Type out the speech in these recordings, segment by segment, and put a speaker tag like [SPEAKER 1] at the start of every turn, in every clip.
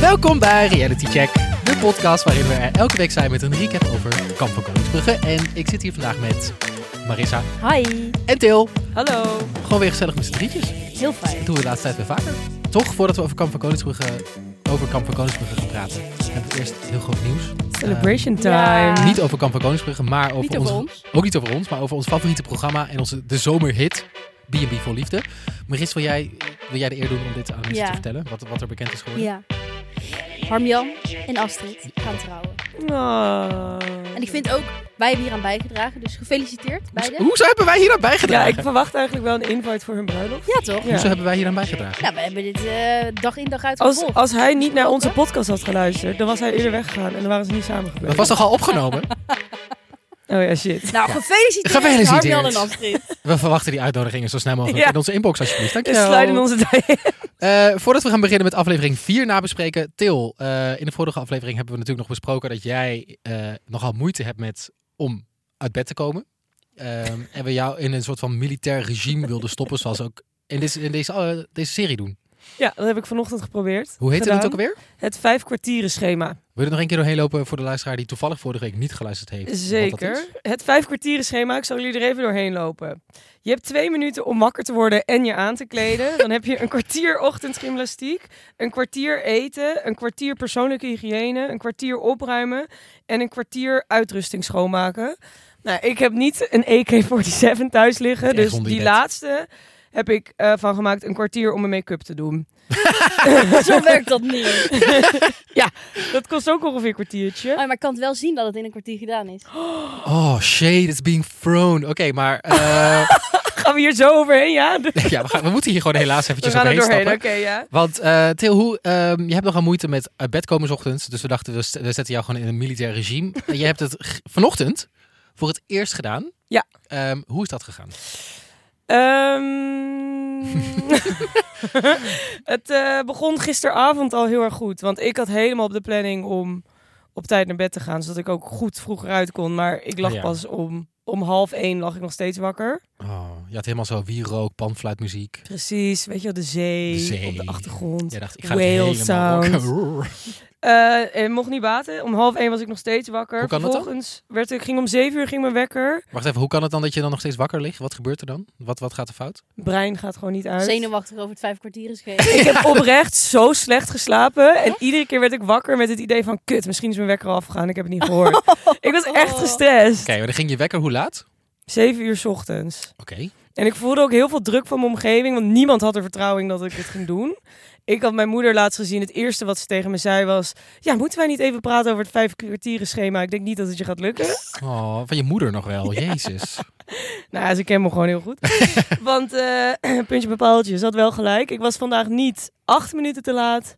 [SPEAKER 1] Welkom bij Reality Check, de podcast waarin we er elke week zijn met een recap over Kamp van Koningsbrugge. En ik zit hier vandaag met Marissa
[SPEAKER 2] Hi.
[SPEAKER 1] en Til.
[SPEAKER 2] Hallo.
[SPEAKER 1] Gewoon weer gezellig met z'n drietjes.
[SPEAKER 2] Heel fijn.
[SPEAKER 1] Dat doen we de laatste tijd weer vaker. Toch, voordat we over Kamp van Koningsbrugge, over Kamp van Koningsbrugge gaan praten, hebben we eerst heel groot nieuws.
[SPEAKER 3] Celebration time.
[SPEAKER 2] Ja.
[SPEAKER 1] Eh, niet over Kamp van Koningsbrugge, maar over,
[SPEAKER 3] Niet over
[SPEAKER 1] ons,
[SPEAKER 3] ons.
[SPEAKER 1] Ook niet over ons, maar over ons favoriete programma en onze de zomerhit, B&B voor Liefde. Marissa, wil jij, wil jij de eer doen om dit aan mensen
[SPEAKER 2] Ja.
[SPEAKER 1] te vertellen? Wat, wat er bekend is geworden?
[SPEAKER 2] Ja. Harmjan en Astrid gaan trouwen.
[SPEAKER 3] Oh.
[SPEAKER 2] En ik vind ook, wij hebben hier aan bijgedragen, dus gefeliciteerd beiden.
[SPEAKER 1] Hoezo hebben wij hier aan
[SPEAKER 3] Ja,
[SPEAKER 1] bijgedragen?
[SPEAKER 3] ik verwacht eigenlijk wel een invite voor hun bruiloft.
[SPEAKER 2] Ja toch?
[SPEAKER 3] Ja.
[SPEAKER 1] Hoezo hebben wij hier aan bijgedragen?
[SPEAKER 2] Nou, we hebben dit eh, dag in dag uit
[SPEAKER 3] Als,
[SPEAKER 2] gevolgd.
[SPEAKER 3] als hij niet naar onze podcast had geluisterd, dan was hij eerder weggegaan en dan waren ze niet samen gebleven.
[SPEAKER 1] Dat was toch al opgenomen?
[SPEAKER 3] Oh ja, shit.
[SPEAKER 2] Nou, gefeliciteerd,
[SPEAKER 1] Gefeliciteerd.
[SPEAKER 2] Harmjan en Astrid.
[SPEAKER 1] We verwachten die uitnodigingen zo snel mogelijk
[SPEAKER 3] Ja.
[SPEAKER 1] in onze inbox alsjeblieft.
[SPEAKER 3] We
[SPEAKER 1] Dankjewel.
[SPEAKER 3] sluiten onze tijd.
[SPEAKER 1] Eh, voordat we gaan beginnen met aflevering 4 nabespreken. Til, eh, in de vorige aflevering hebben we natuurlijk nog besproken dat jij eh, nogal moeite hebt met om uit bed te komen. Ehm, en we jou in een soort van militair regime wilden stoppen, zoals ook in, deze, in deze, eh, deze serie doen.
[SPEAKER 3] Ja, dat heb ik vanochtend geprobeerd.
[SPEAKER 1] Hoe heette
[SPEAKER 3] Gedaan.
[SPEAKER 1] het ook alweer?
[SPEAKER 3] Het vijf kwartieren schema.
[SPEAKER 1] Wil je er nog een keer doorheen lopen voor de luisteraar die toevallig vorige week niet geluisterd heeft? wat dat
[SPEAKER 3] Zeker.
[SPEAKER 1] is?
[SPEAKER 3] Het vijf kwartieren schema, ik zal jullie er even doorheen lopen. Je hebt twee minuten om wakker te worden en je aan te kleden. Dan heb je een kwartier ochtendgymnastiek, een kwartier eten, een kwartier persoonlijke hygiëne, een kwartier opruimen en een kwartier uitrusting schoonmaken. Nou, ik heb niet een AK-47 thuis liggen,
[SPEAKER 1] Echt
[SPEAKER 3] dus
[SPEAKER 1] onder
[SPEAKER 3] die
[SPEAKER 1] je bed.
[SPEAKER 3] laatste heb ik eh, van gemaakt een kwartier om mijn make-up te doen.
[SPEAKER 2] Zo werkt dat niet.
[SPEAKER 3] Dat kost ook ongeveer een kwartiertje.
[SPEAKER 2] Oh, maar ik kan het wel zien dat het in een kwartier gedaan is.
[SPEAKER 1] Oh, shade is being thrown. Oké, maar eh,
[SPEAKER 3] Gaan we hier zo overheen, ja? Dus
[SPEAKER 1] ja, we, gaan- we moeten hier gewoon helaas
[SPEAKER 3] We
[SPEAKER 1] eventjes
[SPEAKER 3] gaan er
[SPEAKER 1] overheen
[SPEAKER 3] doorheen,
[SPEAKER 1] stappen.
[SPEAKER 3] oké, ja.
[SPEAKER 1] Want eh Til, hoe, ehm, je hebt nogal moeite met uit bed komen 's ochtends. Dus we dachten, we, st- we zetten jou gewoon in een militair regime. En je hebt het g- vanochtend voor het eerst gedaan.
[SPEAKER 3] Ja.
[SPEAKER 1] Ehm, hoe is dat gegaan?
[SPEAKER 3] Ehm, het eh, begon gisteravond al heel erg goed. Want ik had helemaal op de planning om op tijd naar bed te gaan. Zodat ik ook goed vroeger uit kon. Maar ik lag
[SPEAKER 1] Ah, Ja.
[SPEAKER 3] pas om, om half één lag ik nog steeds wakker.
[SPEAKER 1] Oh, je had helemaal zo wierook, panfluitmuziek.
[SPEAKER 3] Precies, weet je wel, de zee,
[SPEAKER 1] De zee.
[SPEAKER 3] op de achtergrond.
[SPEAKER 1] Jij dacht, ik ga
[SPEAKER 3] Whale
[SPEAKER 1] het helemaal
[SPEAKER 3] sound.
[SPEAKER 1] rocken.
[SPEAKER 3] Eh, en mocht niet baten. Om half één was ik nog steeds wakker.
[SPEAKER 1] Hoe kan dat dan?
[SPEAKER 3] Vervolgens werd ik, ging om zeven uur ging mijn wekker.
[SPEAKER 1] Wacht even, hoe kan het dan dat je dan nog steeds wakker ligt? Wat gebeurt er dan? Wat, wat gaat er fout?
[SPEAKER 3] Brein gaat gewoon niet uit.
[SPEAKER 2] Zenuwachtig over het vijf kwartier is gegeven.
[SPEAKER 3] Ik heb oprecht zo slecht geslapen. En iedere keer werd ik wakker met het idee van... Kut, misschien is mijn wekker al afgegaan. Ik heb het niet gehoord. ik was echt gestrest.
[SPEAKER 1] Oké, maar dan ging je wekker hoe laat?
[SPEAKER 3] Zeven uur 's ochtends.
[SPEAKER 1] Oké.
[SPEAKER 3] En ik voelde ook heel veel druk van mijn omgeving. Want niemand had er vertrouwen in dat ik het ging doen. Ik had mijn moeder laatst gezien. Het eerste wat ze tegen me zei was... Ja, moeten wij niet even praten over het vijf kwartieren schema? Ik denk niet dat het je gaat lukken.
[SPEAKER 1] Oh, van je moeder nog wel. Jezus.
[SPEAKER 3] Nou, ja, ze kennen me gewoon heel goed. Want, eh puntje bij paaltje, ze had wel gelijk. Ik was vandaag niet acht minuten te laat,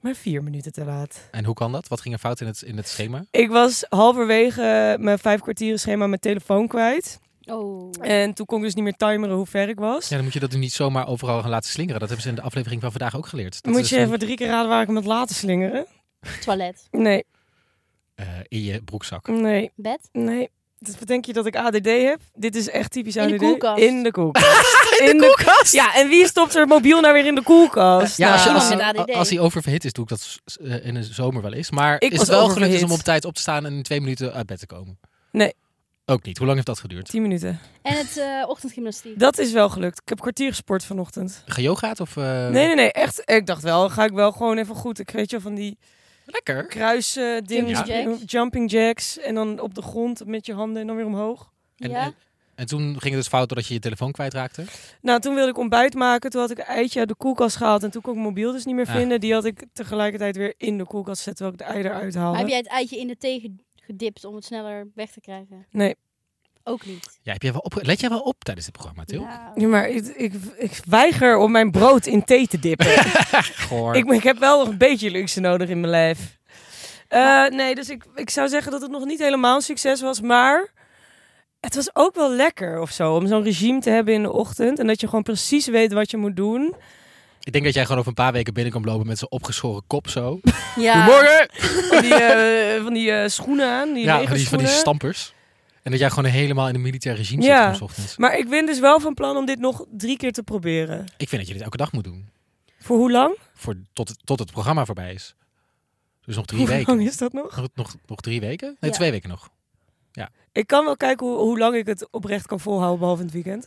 [SPEAKER 3] maar vier minuten te laat.
[SPEAKER 1] En hoe kan dat? Wat ging er fout in het, in het schema?
[SPEAKER 3] Ik was halverwege eh, mijn vijf kwartieren schema mijn telefoon kwijt.
[SPEAKER 2] Oh.
[SPEAKER 3] En toen kon ik dus niet meer timeren hoe ver ik was.
[SPEAKER 1] Ja, dan moet je dat nu niet zomaar overal gaan laten slingeren. Dat hebben ze in de aflevering van vandaag ook geleerd. Dat
[SPEAKER 3] Moet
[SPEAKER 1] is
[SPEAKER 3] je
[SPEAKER 1] een-
[SPEAKER 3] even drie keer raden waar ik hem had laten slingeren?
[SPEAKER 2] Toilet.
[SPEAKER 3] Nee,
[SPEAKER 1] eh, in je broekzak.
[SPEAKER 3] nee,
[SPEAKER 2] Bed.
[SPEAKER 3] nee. Dus bedenk je dat ik ADD heb? Dit is echt typisch
[SPEAKER 2] In de
[SPEAKER 3] ADD.
[SPEAKER 2] koelkast.
[SPEAKER 3] In de koelkast. in de koelkast? Ja, en wie stopt er mobiel nou weer in de koelkast?
[SPEAKER 1] Ja, als, je,
[SPEAKER 3] Nou,
[SPEAKER 1] als,
[SPEAKER 2] Iemand met ADD.
[SPEAKER 1] als hij oververhit is, doe ik dat s- s- eh, in de zomer wel eens. Maar
[SPEAKER 3] Ik
[SPEAKER 1] is het
[SPEAKER 3] was
[SPEAKER 1] wel gelukt dus
[SPEAKER 3] oververhit.
[SPEAKER 1] om op tijd op te staan en in twee minuten uit bed te komen?
[SPEAKER 3] Nee.
[SPEAKER 1] Ook niet. Hoe lang heeft dat geduurd?
[SPEAKER 3] Tien minuten.
[SPEAKER 2] En het eh, ochtendgymnastiek.
[SPEAKER 3] Dat is wel gelukt. Ik heb kwartier gesport vanochtend.
[SPEAKER 1] Geyogaat of... eh,
[SPEAKER 3] Nee, nee, nee. Echt, ik dacht wel, ga ik wel gewoon even goed. Ik weet je wel, van die
[SPEAKER 1] Lekker.
[SPEAKER 3] kruisen, dingen, eh,
[SPEAKER 2] Jumping jacks.
[SPEAKER 3] jumping jacks. En dan op de grond met je handen en dan weer omhoog.
[SPEAKER 1] En,
[SPEAKER 2] ja.
[SPEAKER 1] en, en toen ging het dus fout doordat je je telefoon kwijtraakte.
[SPEAKER 3] Nou, toen wilde ik ontbijt maken. Toen had ik een eitje uit de koelkast gehaald. En toen kon ik mijn mobiel dus niet meer
[SPEAKER 1] Ah.
[SPEAKER 3] vinden. Die had ik tegelijkertijd weer in de koelkast zetten, terwijl ik het ei eruit haalde.
[SPEAKER 2] Maar heb jij het eitje in de thee ge- gedipt om het sneller weg te krijgen?
[SPEAKER 3] Nee.
[SPEAKER 2] Ook niet. Nou.
[SPEAKER 1] Ja, heb jij wel op, let jij wel op tijdens dit programma, Til?
[SPEAKER 2] Ja.
[SPEAKER 3] Ja, maar ik, ik, ik weiger om mijn brood in thee te dippen.
[SPEAKER 1] Goor.
[SPEAKER 3] ik, ik heb wel nog een beetje luxe nodig in mijn lijf. Eh, nee, dus ik, ik zou zeggen dat het nog niet helemaal een succes was. Maar het was ook wel lekker of zo. Om zo'n regime te hebben in de ochtend. En dat je gewoon precies weet wat je moet doen.
[SPEAKER 1] Ik denk dat jij gewoon over een paar weken binnen kan lopen met zo'n opgeschoren kop zo.
[SPEAKER 2] Ja.
[SPEAKER 1] Goedemorgen!
[SPEAKER 3] Van die, eh, van die eh, schoenen aan. Die
[SPEAKER 1] Ja, van die, van die
[SPEAKER 3] regenschoenen.
[SPEAKER 1] stampers. En dat jij gewoon helemaal in een militair regime zit
[SPEAKER 3] Ja.
[SPEAKER 1] van 's ochtends.
[SPEAKER 3] Maar ik ben dus wel van plan om dit nog drie keer te proberen.
[SPEAKER 1] Ik vind dat je dit elke dag moet doen.
[SPEAKER 3] Voor hoe lang?
[SPEAKER 1] Voor, tot, het- tot het programma voorbij is. Dus nog drie
[SPEAKER 3] Hoe
[SPEAKER 1] weken.
[SPEAKER 3] lang is dat nog?
[SPEAKER 1] Nog, nog, nog drie weken? Nee,
[SPEAKER 2] Ja.
[SPEAKER 1] twee weken nog.
[SPEAKER 3] Ik kan wel kijken hoe, hoe lang ik het oprecht kan volhouden, behalve in het weekend.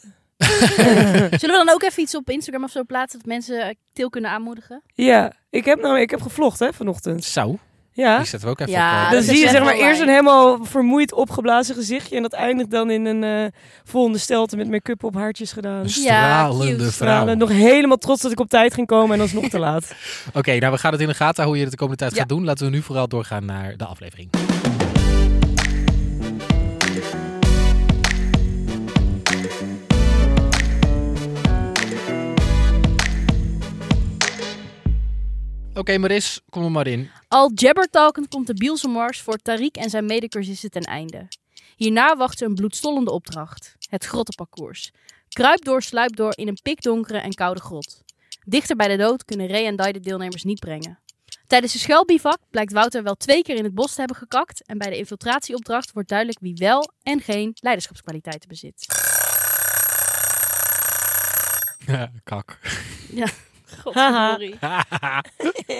[SPEAKER 2] Zullen we dan ook even iets op Instagram of zo plaatsen dat mensen eh, Til kunnen aanmoedigen?
[SPEAKER 3] Ja, ik heb, nou, ik heb gevlogd hè, vanochtend.
[SPEAKER 1] Zo,
[SPEAKER 3] Ja.
[SPEAKER 1] die zetten we ook even
[SPEAKER 2] Ja,
[SPEAKER 1] op. eh,
[SPEAKER 3] Dan
[SPEAKER 2] dat
[SPEAKER 3] zie
[SPEAKER 2] is
[SPEAKER 3] je
[SPEAKER 2] echt
[SPEAKER 3] zeg maar
[SPEAKER 2] wel
[SPEAKER 3] eerst een
[SPEAKER 2] live.
[SPEAKER 3] helemaal vermoeid opgeblazen gezichtje. En dat eindigt dan in een eh volgende stelte met make-up op haartjes gedaan.
[SPEAKER 1] Een
[SPEAKER 3] Dus
[SPEAKER 2] Ja,
[SPEAKER 1] stralende
[SPEAKER 2] cute.
[SPEAKER 1] vrouw.
[SPEAKER 3] nog helemaal trots dat ik op tijd ging komen en dan is het nog te laat.
[SPEAKER 1] Oké, nou we gaan het in de gaten houden hoe je het de komende tijd
[SPEAKER 3] Ja.
[SPEAKER 1] gaat doen. Laten we nu vooral doorgaan naar de aflevering. Oké, Maris, kom er maar in.
[SPEAKER 2] Al jabbertalkend komt de Bielsemars voor Tariq en zijn medecursisten ten einde. Hierna wacht ze een bloedstollende opdracht. Het grottenparcours. Kruip door, sluip door in een pikdonkere en koude grot. Dichter bij de dood kunnen Ray en Dai de deelnemers niet brengen. Tijdens de schuilbivak blijkt Wouter wel twee keer in het bos te hebben gekakt en bij de infiltratieopdracht wordt duidelijk wie wel en geen leiderschapskwaliteiten bezit.
[SPEAKER 1] Kak.
[SPEAKER 2] Godverdorie.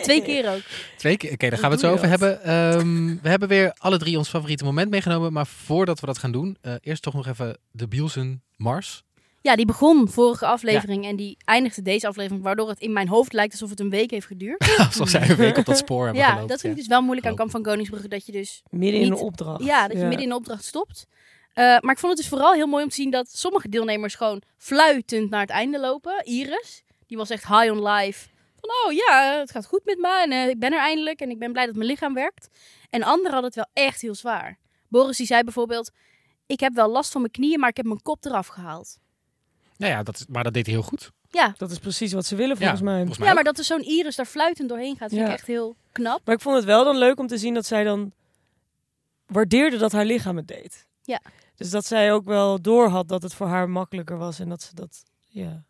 [SPEAKER 2] Twee keer ook.
[SPEAKER 1] Twee keer. Oké, daar
[SPEAKER 3] Hoe
[SPEAKER 1] gaan we het
[SPEAKER 3] doe
[SPEAKER 1] zo
[SPEAKER 3] je
[SPEAKER 1] over
[SPEAKER 3] dat?
[SPEAKER 1] hebben. Ehm, we hebben weer alle drie ons favoriete moment meegenomen. Maar voordat we dat gaan doen, eh, eerst toch nog even de Bielsen Mars.
[SPEAKER 2] Ja, die begon vorige aflevering en die eindigde deze aflevering, waardoor het in mijn hoofd lijkt alsof het een week heeft geduurd.
[SPEAKER 1] Alsof zij een week op dat spoor hebben
[SPEAKER 2] ja,
[SPEAKER 1] gelopen.
[SPEAKER 2] dat vind ik
[SPEAKER 1] Ja.
[SPEAKER 2] dus wel moeilijk aan
[SPEAKER 1] Klopt.
[SPEAKER 2] Kamp van Koningsbrugge. Dat je dus
[SPEAKER 3] Midden in
[SPEAKER 2] Niet-
[SPEAKER 3] een opdracht.
[SPEAKER 2] ja, dat je midden in de opdracht stopt. Eh, maar ik vond het dus vooral heel mooi om te zien dat sommige deelnemers gewoon fluitend naar het einde lopen. Iris, die was echt high on life. Van, oh ja, het gaat goed met me en eh, ik ben er eindelijk en ik ben blij dat mijn lichaam werkt. En anderen hadden het wel echt heel zwaar. Boris die zei bijvoorbeeld, ik heb wel last van mijn knieën, maar ik heb mijn kop eraf gehaald.
[SPEAKER 1] Nou ja, dat, is- maar dat deed hij heel goed.
[SPEAKER 3] Dat is precies wat ze willen
[SPEAKER 1] Ja,
[SPEAKER 3] volgens mij.
[SPEAKER 1] Volgens mij
[SPEAKER 2] Ja,
[SPEAKER 1] ook.
[SPEAKER 2] maar dat er zo'n Iris daar fluitend doorheen gaat, vind
[SPEAKER 3] Ja.
[SPEAKER 2] ik echt heel knap.
[SPEAKER 3] Maar ik vond het wel dan leuk om te zien dat zij dan waardeerde dat haar lichaam het deed.
[SPEAKER 2] Ja.
[SPEAKER 3] Dus dat zij ook wel door had dat het voor haar makkelijker was en dat ze dat. Ja.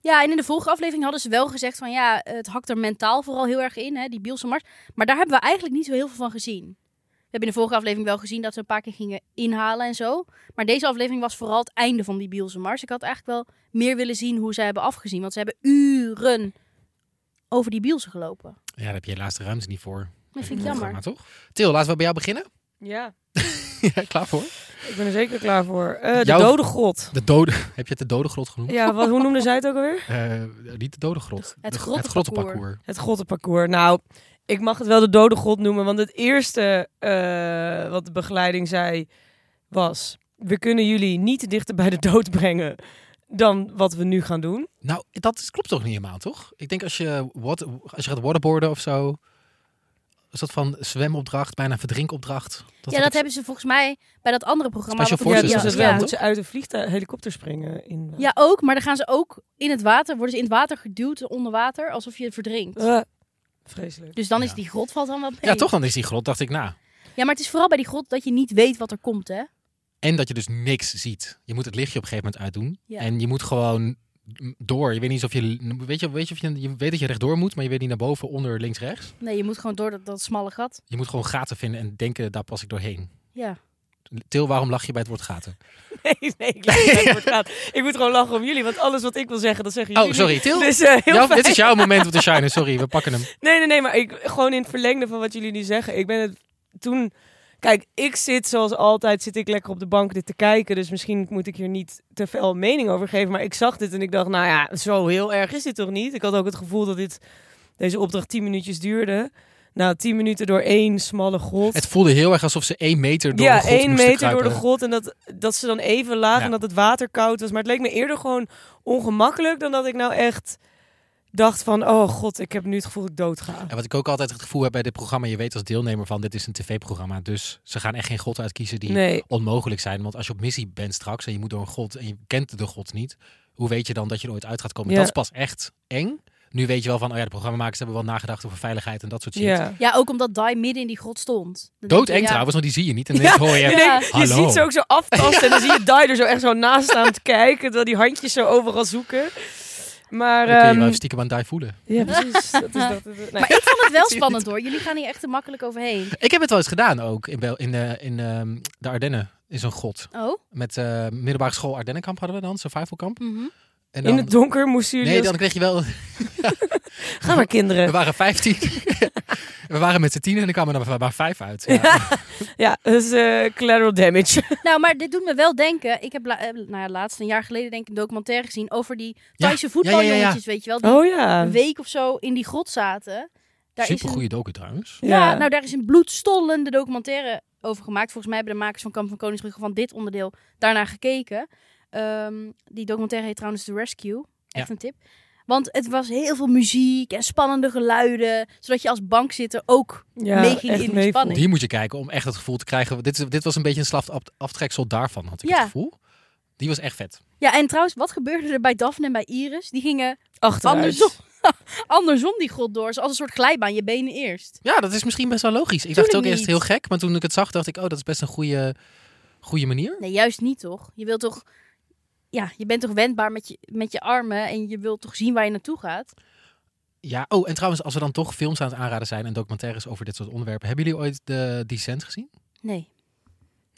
[SPEAKER 2] Ja, en in de vorige aflevering hadden ze wel gezegd van ja, het hakt er mentaal vooral heel erg in, hè, die Bielse Mars. Maar daar hebben we eigenlijk niet zo heel veel van gezien. We hebben in de vorige aflevering wel gezien dat ze een paar keer gingen inhalen en zo. Maar deze aflevering was vooral het einde van die Bielse Mars. Ik had eigenlijk wel meer willen zien hoe zij hebben afgezien. Want ze hebben uren over die Bielse gelopen.
[SPEAKER 1] Ja, daar heb je helaas de ruimte niet voor.
[SPEAKER 2] Dat vind ik
[SPEAKER 1] Maar
[SPEAKER 2] jammer.
[SPEAKER 1] toch? Til, laten we bij jou beginnen.
[SPEAKER 3] ja,
[SPEAKER 1] ja, klaar voor.
[SPEAKER 3] ik ben er zeker klaar voor. Eh, de
[SPEAKER 1] Jouw-
[SPEAKER 3] dode grot.
[SPEAKER 1] De dode. Heb je het de dode grot genoemd?
[SPEAKER 3] Ja, wat, hoe noemde zij het ook alweer?
[SPEAKER 1] Eh, niet de dode grot.
[SPEAKER 2] Het
[SPEAKER 1] De-
[SPEAKER 2] grottenparcours.
[SPEAKER 1] grottenparcours.
[SPEAKER 3] Het grottenparcours. Nou, ik mag het wel de dode grot noemen, want het eerste eh, wat de begeleiding zei was: we kunnen jullie niet dichter bij de dood brengen dan wat we nu gaan doen.
[SPEAKER 1] Nou, dat is- klopt toch niet helemaal, toch? Ik denk als je, wat, als je gaat waterboarden of zo... Is dat van zwemopdracht, bijna verdrinkopdracht?
[SPEAKER 2] Ja, dat hebben ze volgens mij bij dat andere programma.
[SPEAKER 1] Special
[SPEAKER 2] wat we-
[SPEAKER 3] Ja,
[SPEAKER 1] Forces
[SPEAKER 3] dat
[SPEAKER 1] is
[SPEAKER 3] is
[SPEAKER 1] dat het wel,
[SPEAKER 3] het wel. Moet
[SPEAKER 1] toch?
[SPEAKER 3] ze uit een vliegtuig, helikopter springen in. eh,
[SPEAKER 2] Ja, ook. Maar dan gaan ze ook in het water, worden ze in het water geduwd onder water, alsof je verdrinkt.
[SPEAKER 3] eh, vreselijk.
[SPEAKER 2] Dus dan
[SPEAKER 1] Ja.
[SPEAKER 2] is die grot valt dan wat mee.
[SPEAKER 1] Ja, toch? Dan is die grot, dacht ik, nou, na.
[SPEAKER 2] Ja, maar het is vooral bij die grot dat je niet weet wat er komt, hè?
[SPEAKER 1] En dat je dus niks ziet. Je moet het lichtje op een gegeven moment uitdoen.
[SPEAKER 2] Ja.
[SPEAKER 1] En je moet gewoon door. Je weet niet of je... Weet je, weet je, of je, je weet dat je rechtdoor moet, maar je weet niet naar boven, onder, links, rechts.
[SPEAKER 2] Nee, je moet gewoon door dat, dat smalle gat.
[SPEAKER 1] Je moet gewoon gaten vinden en denken, daar pas ik doorheen.
[SPEAKER 2] Ja.
[SPEAKER 1] Til, waarom lach je bij het woord gaten?
[SPEAKER 3] Nee, nee, ik, laat het antwoord gaan. ik moet gewoon lachen om jullie, want alles wat ik wil zeggen, dat zeggen jullie.
[SPEAKER 1] Oh, sorry, Til.
[SPEAKER 3] Dus, eh, heel
[SPEAKER 1] Jouw-
[SPEAKER 3] fijn.
[SPEAKER 1] dit is jouw moment op de shine. Sorry, we pakken hem.
[SPEAKER 3] Nee, nee, nee, maar ik, gewoon in het verlengde van wat jullie nu zeggen. Ik ben het toen... Kijk, ik zit zoals altijd, zit ik lekker op de bank dit te kijken. Dus misschien moet ik hier niet te veel mening over geven. Maar ik zag dit en ik dacht, nou ja, zo heel erg is dit toch niet? Ik had ook het gevoel dat dit, deze opdracht tien minuutjes duurde. Nou, tien minuten door één smalle grot.
[SPEAKER 1] Het voelde heel erg alsof ze één meter door
[SPEAKER 3] ja,
[SPEAKER 1] de grot
[SPEAKER 3] één
[SPEAKER 1] moesten
[SPEAKER 3] meter
[SPEAKER 1] kruipen.
[SPEAKER 3] door de grot. En dat, dat ze dan even laag
[SPEAKER 1] Ja.
[SPEAKER 3] en dat het water koud was. Maar het leek me eerder gewoon ongemakkelijk dan dat ik nou echt dacht van... Oh god, ik heb nu het gevoel dat ik doodga.
[SPEAKER 1] En wat ik ook altijd het gevoel heb bij dit programma, je weet als deelnemer van dit is een tv-programma, dus ze gaan echt geen god uitkiezen die
[SPEAKER 3] Nee,
[SPEAKER 1] onmogelijk zijn. Want als je op missie bent straks en je moet door een god en je kent de god niet, hoe weet je dan dat je er ooit uit gaat komen?
[SPEAKER 3] Ja.
[SPEAKER 1] Dat is pas echt eng. Nu weet je wel van, oh ja, de programmamakers hebben wel nagedacht over veiligheid en dat soort shit.
[SPEAKER 3] ja.
[SPEAKER 2] Ja, ook omdat Dai midden in die grot stond. Dan denk je,
[SPEAKER 1] Doodeng
[SPEAKER 2] ja,
[SPEAKER 1] trouwens, want die zie je niet. En
[SPEAKER 3] Ja,
[SPEAKER 1] ineens hoor je,
[SPEAKER 2] Ja.
[SPEAKER 3] Nee, nee, je
[SPEAKER 1] Hallo.
[SPEAKER 3] ziet ze ook zo aftasten en dan zie je Dai er zo echt zo naast aan het kijken. Terwijl die handjes zo overal zoeken.
[SPEAKER 1] dan
[SPEAKER 3] Maar,
[SPEAKER 1] kun je wel
[SPEAKER 3] ehm,
[SPEAKER 1] even stiekem aan die voelen.
[SPEAKER 3] ja, precies. Dat is dat. Nee.
[SPEAKER 2] Maar ik vond het wel spannend hoor. Jullie gaan hier echt te makkelijk overheen.
[SPEAKER 1] Ik heb het wel eens gedaan ook in, Bel in, eh, in ehm, de Ardennen, in zo'n god.
[SPEAKER 2] Oh.
[SPEAKER 1] Met eh, middelbare school Ardennenkamp hadden we dan, survivalkamp.
[SPEAKER 2] mhm.
[SPEAKER 1] En
[SPEAKER 3] In dus. het donker moesten jullie...
[SPEAKER 1] Nee,
[SPEAKER 3] als-
[SPEAKER 1] dan kreeg je wel
[SPEAKER 3] Ga maar kinderen.
[SPEAKER 1] We waren 15. We waren met z'n tien en er kwamen er maar- maar vijf uit. Ja.
[SPEAKER 3] Ja, dat is eh, collateral damage.
[SPEAKER 2] Nou, maar dit doet me wel denken. Ik heb la- eh, nou ja, laatst een jaar geleden denk ik een documentaire gezien over die
[SPEAKER 1] Ja,
[SPEAKER 2] Thaise
[SPEAKER 1] ja, ja, ja, ja.
[SPEAKER 2] voetbaljongetjes, weet je wel. Die
[SPEAKER 3] Oh ja.
[SPEAKER 2] een week of zo in die grot zaten. Daar is een,
[SPEAKER 1] Supergoeie docu trouwens.
[SPEAKER 2] ja, nou daar is een bloedstollende documentaire over gemaakt. Volgens mij hebben de makers van Kamp van Koningsbrugge van dit onderdeel daarnaar gekeken. Ehm, die documentaire heet trouwens The Rescue. Echt
[SPEAKER 1] Ja.
[SPEAKER 2] een tip. Want het was heel veel muziek en spannende geluiden. Zodat je als bankzitter ook...
[SPEAKER 3] ja,
[SPEAKER 2] making
[SPEAKER 3] echt
[SPEAKER 2] in
[SPEAKER 3] mee
[SPEAKER 2] Spanje.
[SPEAKER 3] voelt.
[SPEAKER 1] Die moet je kijken om echt het gevoel te krijgen. Dit, is- dit was een beetje een slaft af- aftreksel daarvan, had ik
[SPEAKER 2] Ja.
[SPEAKER 1] het gevoel. Die was echt vet.
[SPEAKER 2] Ja, en trouwens, wat gebeurde er bij Daphne en bij Iris? Die gingen
[SPEAKER 3] Achteruit.
[SPEAKER 2] andersom, andersom die grot door. Zoals een soort glijbaan, je benen eerst.
[SPEAKER 1] Ja, dat is misschien best wel logisch. Ik
[SPEAKER 2] Doe
[SPEAKER 1] dacht
[SPEAKER 2] het
[SPEAKER 1] ook eerst
[SPEAKER 2] niet.
[SPEAKER 1] heel gek, maar toen ik het zag, dacht ik, oh, dat is best een goede, goede manier.
[SPEAKER 2] Nee, juist niet toch? Je wilt toch... Ja, je bent toch wendbaar met je, met je armen en je wilt toch zien waar je naartoe gaat?
[SPEAKER 1] Ja, oh, en trouwens, als we dan toch films aan het aanraden zijn en documentaires over dit soort onderwerpen, hebben jullie ooit de Descent gezien?
[SPEAKER 2] Nee.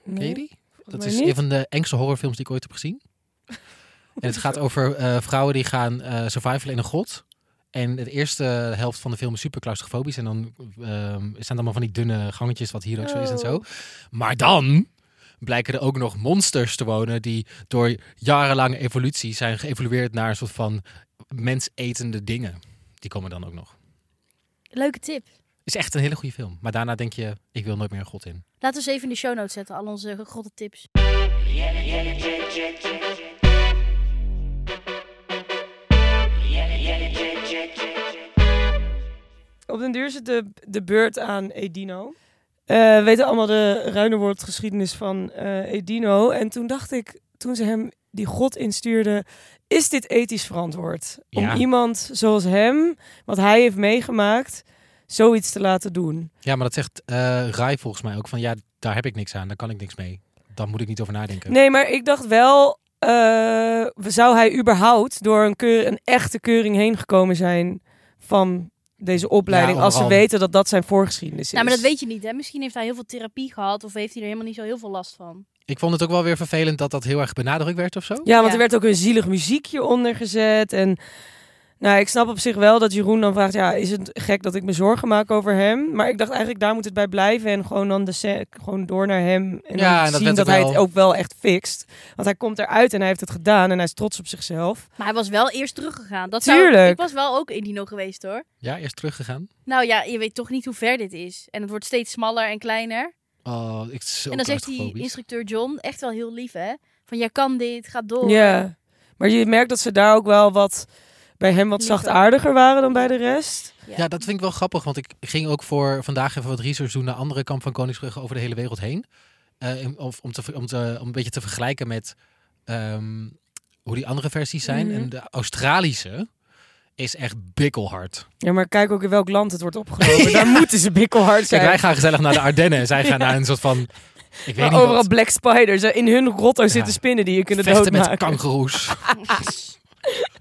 [SPEAKER 1] Ken je
[SPEAKER 3] Nee,
[SPEAKER 1] die? Dat
[SPEAKER 3] mij
[SPEAKER 1] is
[SPEAKER 3] niet.
[SPEAKER 1] een van de engste horrorfilms die ik ooit heb gezien. En het gaat over eh, vrouwen die gaan eh survivalen in een grot. En de eerste helft van de film is super claustrofobisch. En dan ehm, zijn het allemaal van die dunne gangetjes, wat hier ook zo is en zo.
[SPEAKER 2] Oh.
[SPEAKER 1] Maar dan blijken er ook nog monsters te wonen die door jarenlange evolutie zijn geëvolueerd naar een soort van mensetende dingen. Die komen dan ook nog.
[SPEAKER 2] Leuke tip.
[SPEAKER 1] Is echt een hele goede film. Maar daarna denk je, ik wil nooit meer een god in.
[SPEAKER 2] Laten we ze even in de show notes zetten, al onze grotte tips.
[SPEAKER 3] Op den duur is het de, de beurt aan Edino. Eh, we weten allemaal de ruine woordgeschiedenis van eh, Edino. En toen dacht ik, toen ze hem die god instuurde, is dit ethisch verantwoord? Om
[SPEAKER 1] Ja.
[SPEAKER 3] iemand zoals hem, wat hij heeft meegemaakt, zoiets te laten doen.
[SPEAKER 1] Ja, maar dat zegt eh Rai volgens mij ook van ja, daar heb ik niks aan, daar kan ik niks mee. Dan moet ik niet over nadenken.
[SPEAKER 3] Nee, maar ik dacht wel, eh, zou hij überhaupt door een, keur, een echte keuring heen gekomen zijn van deze opleiding,
[SPEAKER 1] Ja,
[SPEAKER 3] als ze
[SPEAKER 1] onderhand.
[SPEAKER 3] weten dat dat zijn voorgeschiedenis
[SPEAKER 2] Nou,
[SPEAKER 3] is?
[SPEAKER 2] maar dat weet je niet, hè? Misschien heeft hij heel veel therapie gehad of heeft hij er helemaal niet zo heel veel last van.
[SPEAKER 1] Ik vond het ook wel weer vervelend dat dat heel erg benadrukt werd of zo.
[SPEAKER 3] Ja, want
[SPEAKER 2] Ja.
[SPEAKER 3] er werd ook een zielig muziekje onder gezet. En nou, ik snap op zich wel dat Jeroen dan vraagt: ja, is het gek dat ik me zorgen maak over hem? Maar ik dacht eigenlijk, daar moet het bij blijven. En gewoon dan de se- gewoon door naar hem. En
[SPEAKER 1] Ja,
[SPEAKER 3] dan
[SPEAKER 1] en dat
[SPEAKER 3] zien
[SPEAKER 1] werd
[SPEAKER 3] dat
[SPEAKER 1] ook
[SPEAKER 3] hij
[SPEAKER 1] wel-
[SPEAKER 3] het ook wel echt fixt. Want hij komt eruit en hij heeft het gedaan en hij is trots op zichzelf.
[SPEAKER 2] Maar hij was wel eerst teruggegaan. Dat Zou,
[SPEAKER 3] Tuurlijk.
[SPEAKER 2] ik was wel ook Indino geweest, hoor.
[SPEAKER 1] Ja, eerst teruggegaan.
[SPEAKER 2] Nou ja, je weet toch niet hoe ver dit is. En het wordt steeds smaller en kleiner.
[SPEAKER 1] Oh, ik zo
[SPEAKER 2] en dan zegt die
[SPEAKER 1] claustrofobisch.
[SPEAKER 2] instructeur John, echt wel heel lief, hè? Van, jij kan dit, ga
[SPEAKER 1] Oh.
[SPEAKER 2] door.
[SPEAKER 3] Ja, maar je merkt dat ze daar ook wel wat bij hem wat
[SPEAKER 2] Liever.
[SPEAKER 3] zachtaardiger waren dan bij de rest.
[SPEAKER 1] Ja, dat vind ik wel grappig, want ik ging ook voor vandaag even wat research doen naar andere kamp van Koningsbrugge over de hele wereld heen. Eh, in- of, om, te, ver- om, te, om een beetje te vergelijken met ehm, hoe die andere versies zijn.
[SPEAKER 3] Mhm.
[SPEAKER 1] En de Australische is echt bikkelhard.
[SPEAKER 3] Ja, maar kijk ook in welk land het wordt opgenomen. Daar moeten ze bikkelhard zijn.
[SPEAKER 1] Kijk, wij gaan gezellig naar de Ardennen en zij gaan naar een soort van... Ik weet
[SPEAKER 3] Maar
[SPEAKER 1] niet
[SPEAKER 3] Ah, overal
[SPEAKER 1] wat.
[SPEAKER 3] black spiders. hè. In hun grotto zitten spinnen die je kunnen
[SPEAKER 1] Vechten met
[SPEAKER 3] doodmaken.
[SPEAKER 1] kangoeroes.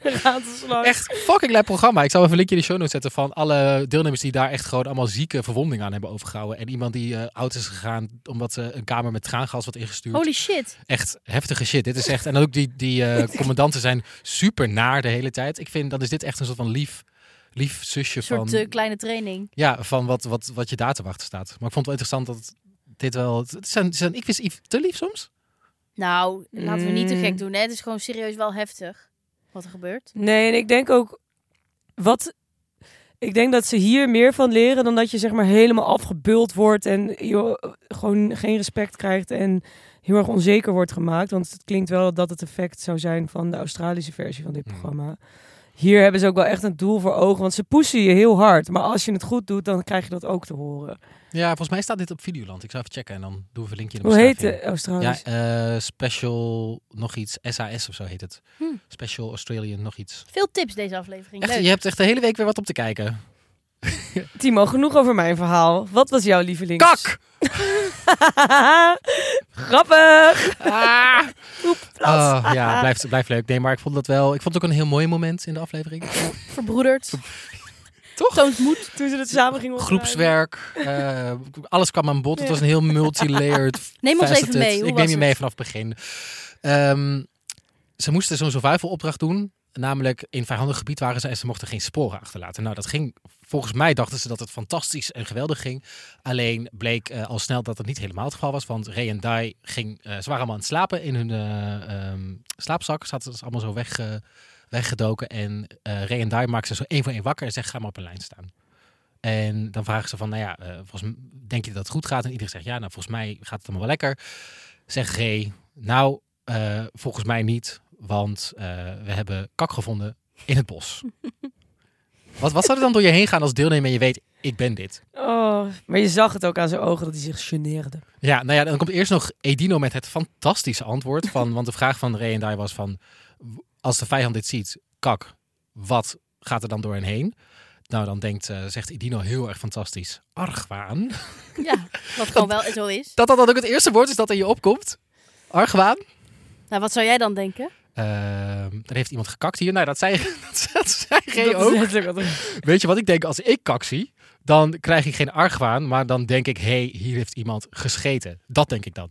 [SPEAKER 3] Ratelslang.
[SPEAKER 1] Echt fucking leuk programma. Ik zal even een linkje in de show notes zetten van alle deelnemers die daar echt gewoon allemaal zieke verwondingen aan hebben overgehouden. En iemand die eh, oud is gegaan omdat ze een kamer met traangas wat ingestuurd.
[SPEAKER 2] Holy shit.
[SPEAKER 1] Echt heftige shit. Dit is echt. En ook die, die eh, commandanten zijn super naar de hele tijd. Ik vind dan is dit echt een soort van lief, lief zusje
[SPEAKER 2] Een soort
[SPEAKER 1] van.
[SPEAKER 2] eh, kleine training.
[SPEAKER 1] Ja, van wat, wat, wat je daar te wachten staat. Maar ik vond het wel interessant dat dit wel. Het zijn, het zijn, ik wist Yves te lief soms.
[SPEAKER 2] Nou, laten we niet te
[SPEAKER 3] Mm.
[SPEAKER 2] gek doen, hè? Het is gewoon serieus wel heftig wat er gebeurt.
[SPEAKER 3] Nee, en ik denk ook... Wat... Ik denk dat ze hier meer van leren dan dat je zeg maar helemaal afgebuld wordt en joh, gewoon geen respect krijgt en heel erg onzeker wordt gemaakt. Want het klinkt wel dat dat het effect zou zijn van de Australische versie van dit
[SPEAKER 1] Hmm.
[SPEAKER 3] programma. Hier hebben ze ook wel echt een doel voor ogen, want ze pushen je heel hard. Maar als je het goed doet, dan krijg je dat ook te horen.
[SPEAKER 1] Ja, volgens mij staat dit op Videoland. Ik zou even checken en dan doen we een linkje in de
[SPEAKER 3] Hoe heet
[SPEAKER 1] beschrijving.
[SPEAKER 3] de Australische?
[SPEAKER 1] Ja, eh, special nog iets. SAS of zo heet het.
[SPEAKER 2] Hm.
[SPEAKER 1] Special Australian nog iets.
[SPEAKER 2] Veel tips deze aflevering.
[SPEAKER 1] Echt,
[SPEAKER 2] Leuk.
[SPEAKER 1] je hebt echt de hele week weer wat op te kijken.
[SPEAKER 3] Timo, genoeg over mijn verhaal. Wat was jouw lieveling?
[SPEAKER 1] Kak!
[SPEAKER 3] Grappig!
[SPEAKER 1] Ah!
[SPEAKER 3] Plas.
[SPEAKER 1] Oh, ja, blijft, blijft leuk. Nee, maar ik vond dat wel. Ik vond het ook een heel mooi moment in de aflevering.
[SPEAKER 2] Verbroederd.
[SPEAKER 1] Toch?
[SPEAKER 2] Toont moed.
[SPEAKER 3] Toen ze het samen gingen opruimen.
[SPEAKER 1] Groepswerk, eh, alles kwam aan bod. Het was een heel multi-layered.
[SPEAKER 2] Neem ons even
[SPEAKER 1] faceted-
[SPEAKER 2] mee. Hoe
[SPEAKER 1] Ik
[SPEAKER 2] was
[SPEAKER 1] neem je
[SPEAKER 2] het?
[SPEAKER 1] mee vanaf het begin. Ehm, ze moesten zo'n survival opdracht doen. Eh, namelijk in vijandig gebied waren ze en ze mochten geen sporen achterlaten. Nou, dat ging, volgens mij dachten ze dat het fantastisch en geweldig ging. Alleen bleek eh, al snel dat dat niet helemaal het geval was. Want Ray en Dai ging, eh, ze waren allemaal aan het slapen in hun eh, ehm, slaapzak. Zaten ze allemaal zo weg, eh, weggedoken. En eh, Ray en Dai maakten ze zo één voor één wakker en zeggen, ga maar op een lijn staan. En dan vragen ze van, nou ja, eh, volgens, m- denk je dat het goed gaat? En iedereen zegt, ja, nou volgens mij gaat het allemaal wel lekker. Zegt Ray, nou, eh, volgens mij niet, want eh, we hebben kak gevonden in het bos. wat, wat zou er dan door je heen gaan als deelnemer en je weet, ik ben dit?
[SPEAKER 3] Oh, maar je zag het ook aan zijn ogen dat hij zich geneerde.
[SPEAKER 1] Ja, nou ja, dan komt eerst nog Edino met het fantastische antwoord. Van, want de vraag van Ray en Dai was van, w- als de vijand dit ziet, kak, wat gaat er dan door hen heen? Nou, dan denkt, eh, zegt Edino heel erg fantastisch, argwaan.
[SPEAKER 2] Ja, wat gewoon wel zo is.
[SPEAKER 1] Dat dat dan ook het eerste woord is dat in je opkomt. Argwaan.
[SPEAKER 2] Nou, wat zou jij dan denken?
[SPEAKER 1] Ehm er heeft iemand gekakt hier. Nou, dat zei, dat, zei Ray
[SPEAKER 3] dat
[SPEAKER 1] ook.
[SPEAKER 3] is letterlijk wat er-
[SPEAKER 1] Weet je wat ik denk? Als ik kak zie, dan krijg ik geen argwaan. Maar dan denk ik, hé, hey, hier heeft iemand gescheten. Dat denk ik dan.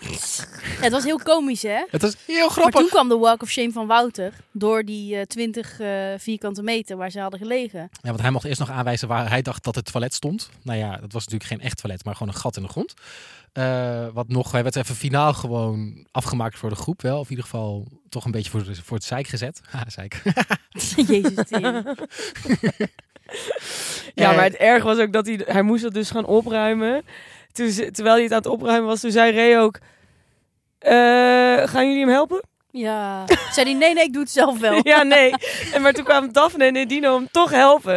[SPEAKER 2] Ja, het was heel komisch, hè?
[SPEAKER 1] Het is heel
[SPEAKER 2] Maar
[SPEAKER 1] grappig.
[SPEAKER 2] toen kwam de Walk of Shame van Wouter door die eh, 20 eh, vierkante meter waar ze hadden gelegen.
[SPEAKER 1] Ja, want hij mocht eerst nog aanwijzen waar hij dacht dat het toilet stond. Nou ja, dat was natuurlijk geen echt toilet, maar gewoon een gat in de grond. Eh, wat nog, hij werd even finaal gewoon afgemaakt voor de groep wel. Of in ieder geval toch een beetje voor, de- voor het zeik gezet. Ha, zeik.
[SPEAKER 2] Jezus, tering.
[SPEAKER 3] Ja,
[SPEAKER 1] Eh,
[SPEAKER 3] maar het erg was ook dat hij, hij moest dat dus gaan opruimen. Toen, ze- terwijl hij het aan het opruimen was, toen zei Ray ook... "Eh, gaan jullie hem helpen?
[SPEAKER 2] ja. Zei die, nee, nee, ik doe het zelf
[SPEAKER 1] Oh.
[SPEAKER 2] wel.
[SPEAKER 3] Ja, nee. En maar toen kwamen Daphne en Edino hem toch helpen.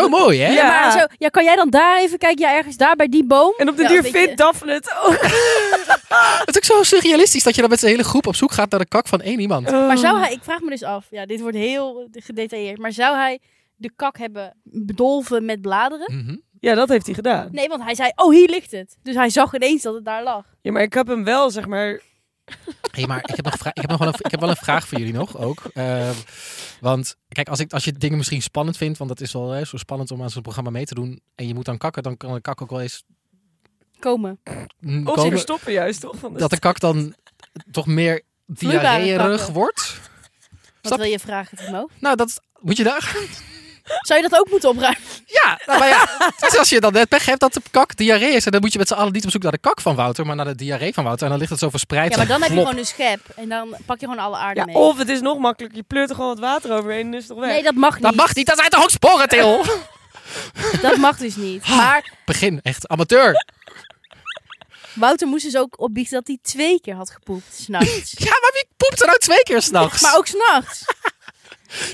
[SPEAKER 1] Zo
[SPEAKER 3] het-
[SPEAKER 1] mooi, hè?
[SPEAKER 2] Ja,
[SPEAKER 3] Ja.
[SPEAKER 2] maar zo, ja, kan jij dan daar even kijken? Ja, ergens daar bij die boom.
[SPEAKER 3] En op de
[SPEAKER 2] Ja,
[SPEAKER 3] duur
[SPEAKER 2] een beetje.
[SPEAKER 3] vindt Daphne het ook.
[SPEAKER 1] Het is ook zo surrealistisch dat je dan met z'n hele groep op zoek gaat naar de kak van één iemand.
[SPEAKER 2] Maar zou hij, ik vraag me dus af, ja, dit wordt heel gedetailleerd, maar zou hij de kak hebben bedolven met bladeren?
[SPEAKER 1] Mhm.
[SPEAKER 3] Ja, dat heeft hij gedaan.
[SPEAKER 2] Nee, want hij zei, oh, hier ligt het. Dus hij zag ineens dat het daar lag.
[SPEAKER 3] Ja, maar ik heb hem wel, zeg maar...
[SPEAKER 1] Hey, maar ik heb, nog vra- ik, heb nog wel een, ik heb wel een vraag voor jullie nog ook. Ehm, want kijk, als, ik, als je dingen misschien spannend vindt, want dat is wel hè, zo spannend om aan zo'n programma mee te doen. En je moet dan kakken, dan kan de kak ook wel eens
[SPEAKER 2] Komen.
[SPEAKER 1] mm,
[SPEAKER 3] Of ze
[SPEAKER 1] komen.
[SPEAKER 3] verstoppen juist, toch? Van de-
[SPEAKER 1] Dat de kak dan toch meer
[SPEAKER 2] Vloeibare
[SPEAKER 1] diarreerig
[SPEAKER 2] kakken.
[SPEAKER 1] wordt. Snap
[SPEAKER 2] Wat wil je vragen, Timo?
[SPEAKER 1] Nou, dat moet je daar.
[SPEAKER 2] Zou je dat ook moeten opruimen?
[SPEAKER 1] Ja, nou, maar ja. Het is als je dan net pech hebt dat de kak diarree is. En dan moet je met z'n allen niet op zoek naar de kak van Wouter, maar naar de diarree van Wouter. En dan ligt het zo verspreid.
[SPEAKER 2] Ja, maar dan
[SPEAKER 1] zo
[SPEAKER 2] heb je
[SPEAKER 1] flop.
[SPEAKER 2] gewoon een schep en dan pak je gewoon alle aarde
[SPEAKER 3] Ja,
[SPEAKER 2] mee.
[SPEAKER 1] oh,
[SPEAKER 3] of het is nog makkelijker. Je pleurt er gewoon wat water overheen en is het toch weg.
[SPEAKER 2] Nee, dat mag niet.
[SPEAKER 1] Dat mag niet, dat zijn toch ook sporen, Til?
[SPEAKER 2] Dat mag dus niet.
[SPEAKER 1] Ah.
[SPEAKER 2] Maar
[SPEAKER 1] Begin, echt amateur.
[SPEAKER 2] Wouter moest dus ook opbiechten dat hij twee keer had gepoept, s'nachts.
[SPEAKER 1] Ja, maar wie poept er nou twee keer s'nachts?
[SPEAKER 2] maar ook s'nachts.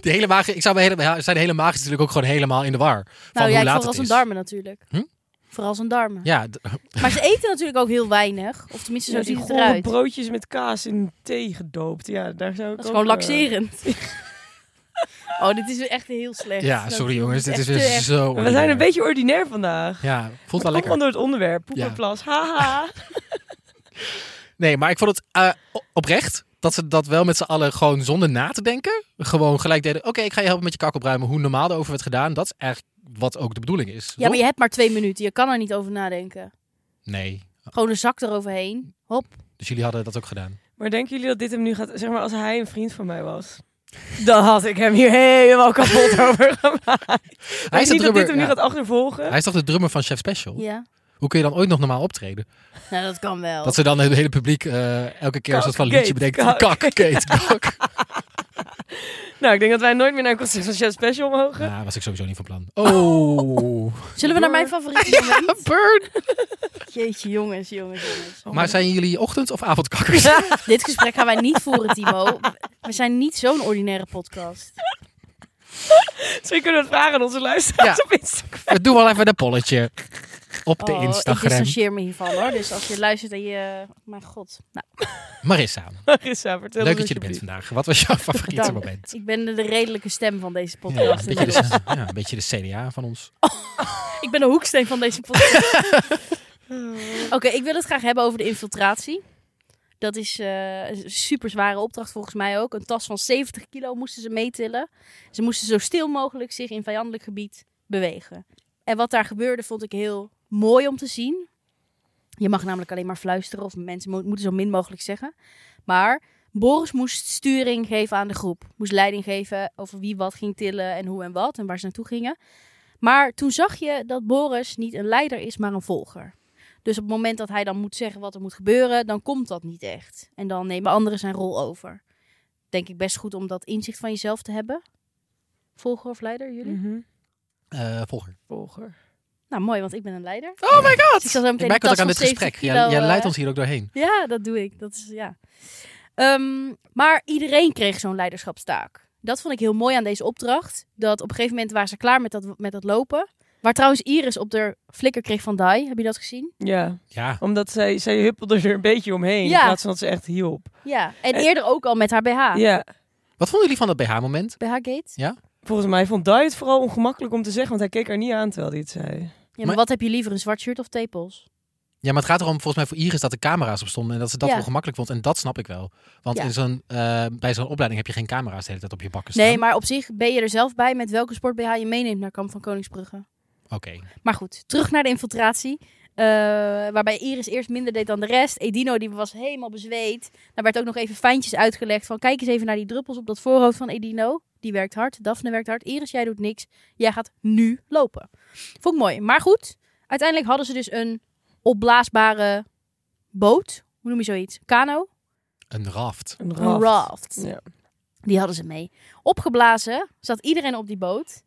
[SPEAKER 1] De hele maag, ik zou mijn hele, ja, zijn hele maag is natuurlijk ook gewoon helemaal in de war. van
[SPEAKER 2] Nou ja,
[SPEAKER 1] hoe laat
[SPEAKER 2] ik vooral
[SPEAKER 1] het
[SPEAKER 2] zijn
[SPEAKER 1] is.
[SPEAKER 2] darmen natuurlijk.
[SPEAKER 1] Hm?
[SPEAKER 2] Vooral zijn darmen.
[SPEAKER 1] Ja, d-
[SPEAKER 2] Maar ze eten natuurlijk ook heel weinig. Of tenminste, zo
[SPEAKER 3] Ja, die
[SPEAKER 2] ziet het
[SPEAKER 3] gore
[SPEAKER 2] eruit.
[SPEAKER 3] broodjes met kaas in thee gedoopt. Ja, daar zou ik
[SPEAKER 2] Dat is gewoon
[SPEAKER 3] ook, eh,
[SPEAKER 2] laxerend. oh, dit is weer echt heel slecht.
[SPEAKER 1] ja
[SPEAKER 2] Dat-
[SPEAKER 1] sorry jongens, dit
[SPEAKER 2] echt
[SPEAKER 1] is weer
[SPEAKER 2] te erg.
[SPEAKER 1] zo.
[SPEAKER 3] maar We zijn
[SPEAKER 1] ordinair.
[SPEAKER 3] een beetje ordinair vandaag.
[SPEAKER 1] Ja, voelt wel
[SPEAKER 3] Komt
[SPEAKER 1] lekker.
[SPEAKER 3] gewoon door het onderwerp. Poep
[SPEAKER 1] Ja.
[SPEAKER 3] en plas. Haha.
[SPEAKER 1] Nee, maar ik vond het eh, o- oprecht dat ze dat wel met z'n allen gewoon zonder na te denken. Gewoon gelijk deden, oké, ik ga je helpen met je kak opruimen. Hoe normaal erover werd gedaan, dat is eigenlijk wat ook de bedoeling is.
[SPEAKER 2] Ja, maar
[SPEAKER 1] toch?
[SPEAKER 2] je hebt maar twee minuten. Je kan er niet over nadenken.
[SPEAKER 1] Nee,
[SPEAKER 2] Gewoon een zak eroverheen. Hop.
[SPEAKER 1] dus jullie hadden dat ook gedaan.
[SPEAKER 3] Maar denken jullie dat dit hem nu gaat... Zeg maar, als hij een vriend van mij was... Dan had ik hem hier helemaal kapot over gemaakt. Hij
[SPEAKER 1] is de
[SPEAKER 3] is niet dat dit
[SPEAKER 1] drummer,
[SPEAKER 3] hem nu
[SPEAKER 1] ja.
[SPEAKER 3] gaat achtervolgen.
[SPEAKER 1] Hij is toch de drummer van Chef Special?
[SPEAKER 2] Ja.
[SPEAKER 1] Hoe kun je dan ooit nog normaal optreden?
[SPEAKER 2] Nou, dat kan wel.
[SPEAKER 1] Dat ze dan het hele publiek eh, elke keer als dat van een liedje
[SPEAKER 3] Kak,
[SPEAKER 1] bedenkt,
[SPEAKER 3] kak.
[SPEAKER 1] kak, Kate, kak.
[SPEAKER 3] Nou, ik denk dat wij nooit meer naar een concert van Chef Special mogen.
[SPEAKER 1] Nou, was ik sowieso niet van plan. Oh.
[SPEAKER 2] Zullen we naar mijn favoriete moment?
[SPEAKER 1] Burn.
[SPEAKER 2] Jeetje, jongens, jongens, jongens.
[SPEAKER 1] Maar zijn jullie ochtend- of avondkakkers?
[SPEAKER 2] Dit gesprek gaan wij niet voeren, Timo. We zijn niet zo'n ordinaire podcast.
[SPEAKER 3] Misschien kunnen we het vragen aan onze luisteraars
[SPEAKER 1] Ja.
[SPEAKER 3] op Instagram.
[SPEAKER 1] We doen wel even een polletje op de
[SPEAKER 2] oh, Ik
[SPEAKER 1] Instagram.
[SPEAKER 2] distancieer me hiervan, hoor. Dus als je luistert en je... mijn god. Nou,
[SPEAKER 1] Marissa,
[SPEAKER 3] Marissa, vertel
[SPEAKER 1] leuk
[SPEAKER 3] ons
[SPEAKER 1] dat je er bent
[SPEAKER 3] alsjeblieft.
[SPEAKER 1] vandaag. Wat was jouw favoriete
[SPEAKER 2] Dank.
[SPEAKER 1] moment?
[SPEAKER 2] ik ben de de redelijke stem van deze
[SPEAKER 1] Ja, dus- een,
[SPEAKER 2] podcast.
[SPEAKER 1] beetje
[SPEAKER 2] inmiddels.
[SPEAKER 1] de, ja, een beetje de CDA van ons.
[SPEAKER 2] Ik ben de hoeksteen van deze podcast. Oké, ik wil het graag hebben over de infiltratie. Dat is eh, een super zware opdracht volgens mij ook. Een tas van 70 kilo moesten ze meetillen. Ze moesten zo stil mogelijk zich in vijandelijk gebied bewegen. En wat daar gebeurde vond ik heel mooi om te zien. Je mag namelijk alleen maar fluisteren of mensen mo- moeten zo min mogelijk zeggen. Maar Boris moest sturing geven aan de groep. Moest leiding geven over wie wat ging tillen en hoe en wat en waar ze naartoe gingen. Maar toen zag je dat Boris niet een leider is, maar een volger. Dus op het moment dat hij dan moet zeggen wat er moet gebeuren, dan komt dat niet echt. En dan nemen anderen zijn rol over. Denk ik best goed om dat inzicht van jezelf te hebben. Volger of leider, jullie?
[SPEAKER 3] Mhm.
[SPEAKER 1] Eh, volger.
[SPEAKER 3] Volger.
[SPEAKER 2] Nou, mooi, want ik ben een leider.
[SPEAKER 1] Oh my god!
[SPEAKER 2] Dus ik zal zo
[SPEAKER 1] Ik
[SPEAKER 2] meteen
[SPEAKER 1] merk
[SPEAKER 2] de
[SPEAKER 1] dat ook
[SPEAKER 2] tas
[SPEAKER 1] aan
[SPEAKER 2] van
[SPEAKER 1] dit
[SPEAKER 2] 70
[SPEAKER 1] gesprek.
[SPEAKER 2] kilo,
[SPEAKER 1] Jij, jij
[SPEAKER 2] eh,
[SPEAKER 1] leidt ons hier ook doorheen.
[SPEAKER 2] Ja, dat doe ik. Dat is ja. Ehm, maar iedereen kreeg zo'n leiderschapstaak. Dat vond ik heel mooi aan deze opdracht. Dat op een gegeven moment waren ze klaar met dat, met dat lopen. Waar trouwens Iris op de flikker kreeg van Dai. Heb je dat gezien?
[SPEAKER 3] Ja,
[SPEAKER 1] Ja.
[SPEAKER 3] omdat zij, zij huppelde er een beetje omheen
[SPEAKER 2] Ja.
[SPEAKER 3] in plaats van dat ze echt hielp.
[SPEAKER 2] Ja. En
[SPEAKER 3] Eh.
[SPEAKER 2] eerder ook al met haar BH.
[SPEAKER 3] Ja.
[SPEAKER 1] Wat vonden jullie van dat BH-moment?
[SPEAKER 2] BH-gate.
[SPEAKER 3] Volgens mij vond Dai het vooral ongemakkelijk om te zeggen, want hij keek haar niet aan terwijl hij het zei.
[SPEAKER 2] Ja, maar
[SPEAKER 1] Maar-
[SPEAKER 2] wat heb je liever, een zwart shirt of tepels?
[SPEAKER 1] Ja, maar het gaat erom volgens mij voor Iris dat er camera's op stonden en dat ze dat
[SPEAKER 2] Ja.
[SPEAKER 1] ongemakkelijk vond. En dat snap ik wel. Want
[SPEAKER 2] Ja.
[SPEAKER 1] in zo'n, eh, bij zo'n opleiding heb je geen camera's de hele tijd op je bakken staan.
[SPEAKER 2] Nee, maar op zich ben je er zelf bij met welke sport BH je meeneemt naar Kamp van Koningsbrugge.
[SPEAKER 1] Oké.
[SPEAKER 2] Maar goed, terug naar de infiltratie. Eh, waarbij Iris eerst minder deed dan de rest. Edino die was helemaal bezweet. Daar werd ook nog even fijntjes uitgelegd van kijk eens even naar die druppels op dat voorhoofd van Edino. Die werkt hard, Daphne werkt hard. Iris, jij doet niks. Jij gaat nu lopen. Vond ik mooi. Maar goed, uiteindelijk hadden ze dus een opblaasbare boot. Hoe noem je zoiets? Kano?
[SPEAKER 1] Een raft.
[SPEAKER 3] Een raft.
[SPEAKER 2] Een raft.
[SPEAKER 3] Ja.
[SPEAKER 2] Die hadden ze mee. Opgeblazen zat iedereen op die boot.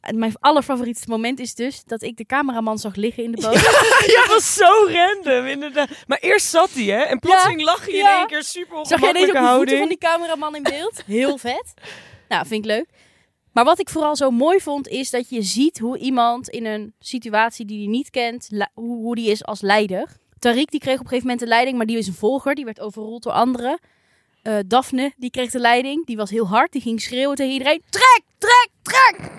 [SPEAKER 2] En mijn allerfavorietste moment is dus dat ik de cameraman zag liggen in de boot.
[SPEAKER 3] Ja, dat was zo random, inderdaad. Maar eerst zat hij, hè? En plotseling lag hij
[SPEAKER 2] ja.
[SPEAKER 3] in één keer super
[SPEAKER 2] Zag jij deze
[SPEAKER 3] ongemakkelijke
[SPEAKER 2] ook de voeten van
[SPEAKER 3] houding.
[SPEAKER 2] die cameraman in beeld? Heel vet. Nou, vind ik leuk. Maar wat ik vooral zo mooi vond, is dat je ziet hoe iemand in een situatie die hij niet kent, la- hoe, hoe die is als leider. Tariq die kreeg op een gegeven moment de leiding, maar die is een volger. Die werd overrold door anderen. Eh Daphne, die kreeg de leiding. Die was heel hard. Die ging schreeuwen tegen iedereen. Trek, trek, trek!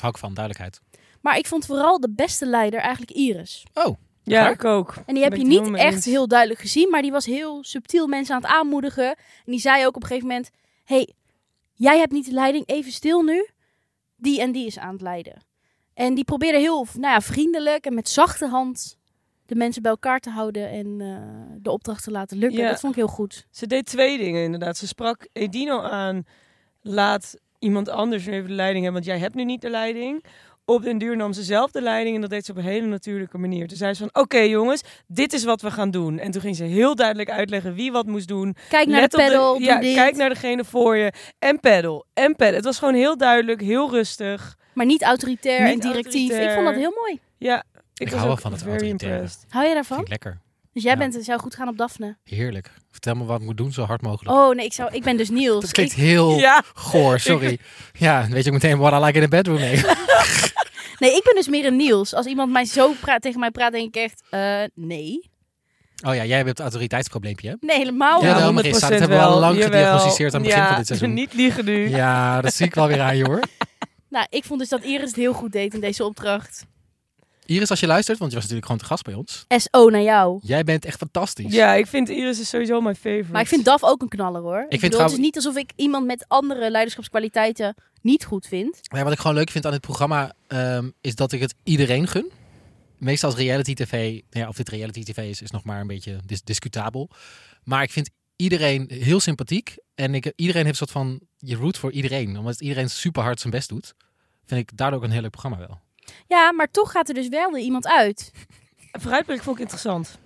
[SPEAKER 1] Hou ik van, duidelijkheid.
[SPEAKER 2] Maar ik vond vooral de beste leider eigenlijk Iris.
[SPEAKER 3] Ja, ik ook.
[SPEAKER 2] En die heb
[SPEAKER 3] Ben
[SPEAKER 2] je niet
[SPEAKER 3] ik het helemaal mee
[SPEAKER 2] echt
[SPEAKER 3] eens.
[SPEAKER 2] heel duidelijk gezien, maar die was heel subtiel mensen aan het aanmoedigen. En die zei ook op een gegeven moment: hey, jij hebt niet de leiding, even stil nu. Die en die is aan het leiden. En die probeerde heel nou ja, vriendelijk en met zachte hand de mensen bij elkaar te houden en eh, de opdracht te laten lukken.
[SPEAKER 3] Ja.
[SPEAKER 2] Dat vond ik heel goed.
[SPEAKER 3] Ze deed twee dingen inderdaad. Ze sprak Edino aan, laat iemand anders nu even de leiding hebben, want jij hebt nu niet de leiding. Op den duur nam ze zelf de leiding en dat deed ze op een hele natuurlijke manier. Toen zei ze van, oké jongens, dit is wat we gaan doen. En toen ging ze heel duidelijk uitleggen wie wat moest doen.
[SPEAKER 2] Kijk naar de
[SPEAKER 3] op
[SPEAKER 2] pedal.
[SPEAKER 3] ja, kijk naar degene voor je. En pedal, en pedal. Het was gewoon heel duidelijk, heel rustig.
[SPEAKER 2] Maar niet autoritair
[SPEAKER 3] Niet
[SPEAKER 2] en directief. Ik
[SPEAKER 3] autoritair.
[SPEAKER 2] vond dat heel mooi.
[SPEAKER 3] Ja,
[SPEAKER 1] Ik
[SPEAKER 3] was
[SPEAKER 1] hou wel
[SPEAKER 3] ook
[SPEAKER 1] van het
[SPEAKER 3] very
[SPEAKER 1] autoritaire.
[SPEAKER 3] impressed.
[SPEAKER 2] Hou je
[SPEAKER 1] Vind
[SPEAKER 2] daarvan?
[SPEAKER 1] ik lekker.
[SPEAKER 2] Dus jij
[SPEAKER 1] Ja.
[SPEAKER 2] bent, zou goed gaan op Daphne.
[SPEAKER 1] Heerlijk. Vertel me wat ik moet doen, zo hard mogelijk.
[SPEAKER 2] Oh nee, ik, zou, ik ben dus Niels.
[SPEAKER 1] dat klinkt heel
[SPEAKER 3] Ja,
[SPEAKER 1] goor, sorry. Ja, dan weet je ook meteen what I like in the bedroom. Nee.
[SPEAKER 2] Nee, ik ben dus meer een Niels. Als iemand mij zo praat, tegen mij praat, denk ik echt, eh, nee.
[SPEAKER 1] Oh ja, jij hebt het autoriteitsprobleempje, hè?
[SPEAKER 2] Nee, helemaal
[SPEAKER 1] Ja,
[SPEAKER 2] niet.
[SPEAKER 1] daarom, Marissa, dat hebben we al lang gediagnosticeerd aan het begin
[SPEAKER 3] Ja,
[SPEAKER 1] van dit seizoen.
[SPEAKER 3] niet liegen nu.
[SPEAKER 1] Ja, dat zie ik wel weer aan je, hoor.
[SPEAKER 2] Nou, ik vond dus dat Iris het heel goed deed in deze opdracht.
[SPEAKER 1] Iris, als je luistert, want je was natuurlijk gewoon te gast bij ons.
[SPEAKER 2] SO naar jou.
[SPEAKER 1] Jij bent echt fantastisch.
[SPEAKER 3] Ja, ik vind Iris is sowieso mijn favorite.
[SPEAKER 2] Maar ik vind Daf ook een knaller hoor. Ik,
[SPEAKER 1] vind
[SPEAKER 2] bedoel,
[SPEAKER 1] trouw-
[SPEAKER 2] het is niet alsof ik iemand met andere leiderschapskwaliteiten niet goed vind.
[SPEAKER 1] Ja, wat ik gewoon leuk vind aan dit programma ehm, is dat ik het iedereen gun. Meestal als reality tv, nou ja, of dit reality tv is, is nog maar een beetje dis- discutabel. Maar ik vind iedereen heel sympathiek. En ik, iedereen heeft een soort van, je root voor iedereen. Omdat iedereen super hard zijn best doet. Vind ik daardoor ook een heel leuk programma wel.
[SPEAKER 2] Ja, maar toch gaat er dus wel weer iemand uit.
[SPEAKER 3] Vooruitblik vond ik interessant.